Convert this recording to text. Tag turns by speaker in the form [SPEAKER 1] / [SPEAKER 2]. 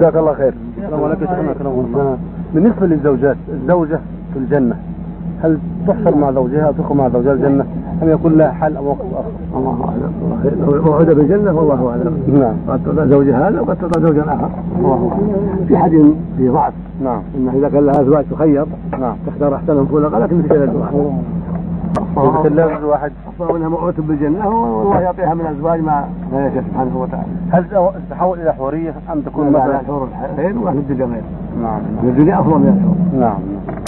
[SPEAKER 1] جزاك الله خير
[SPEAKER 2] السلام عليكم شيخنا اكرمكم الله
[SPEAKER 1] بالنسبة للزوجات الزوجة في الجنة هل تحشر مع زوجها أو تدخل مع زوجها الجنة أم يكون لها حل أو موقف آخر؟
[SPEAKER 2] الله اعلم والله خير. لو وعد بالجنه والله اعلم
[SPEAKER 1] نعم
[SPEAKER 2] قد تطلع زوج هذا وقد تطلع زوجا اخر الله اعلم في حديث في ضعف
[SPEAKER 1] نعم
[SPEAKER 2] انه اذا كان لها ازواج تخير
[SPEAKER 1] نعم
[SPEAKER 2] تختار احسنهم خلقا لكن مثل الازواج
[SPEAKER 1] يبقى الله الواحد
[SPEAKER 2] أصبح منها مؤوت بالجنة والله يعطيها من أزواج ما لا يشاء سبحانه وتعالى
[SPEAKER 1] هل تتحول إلى حورية أم تكون
[SPEAKER 2] كل ما
[SPEAKER 1] مثلا
[SPEAKER 2] الحور الحين وأهل الدنيا غير
[SPEAKER 1] نعم
[SPEAKER 2] 嗯 الدنيا أفضل من الحور
[SPEAKER 1] نعم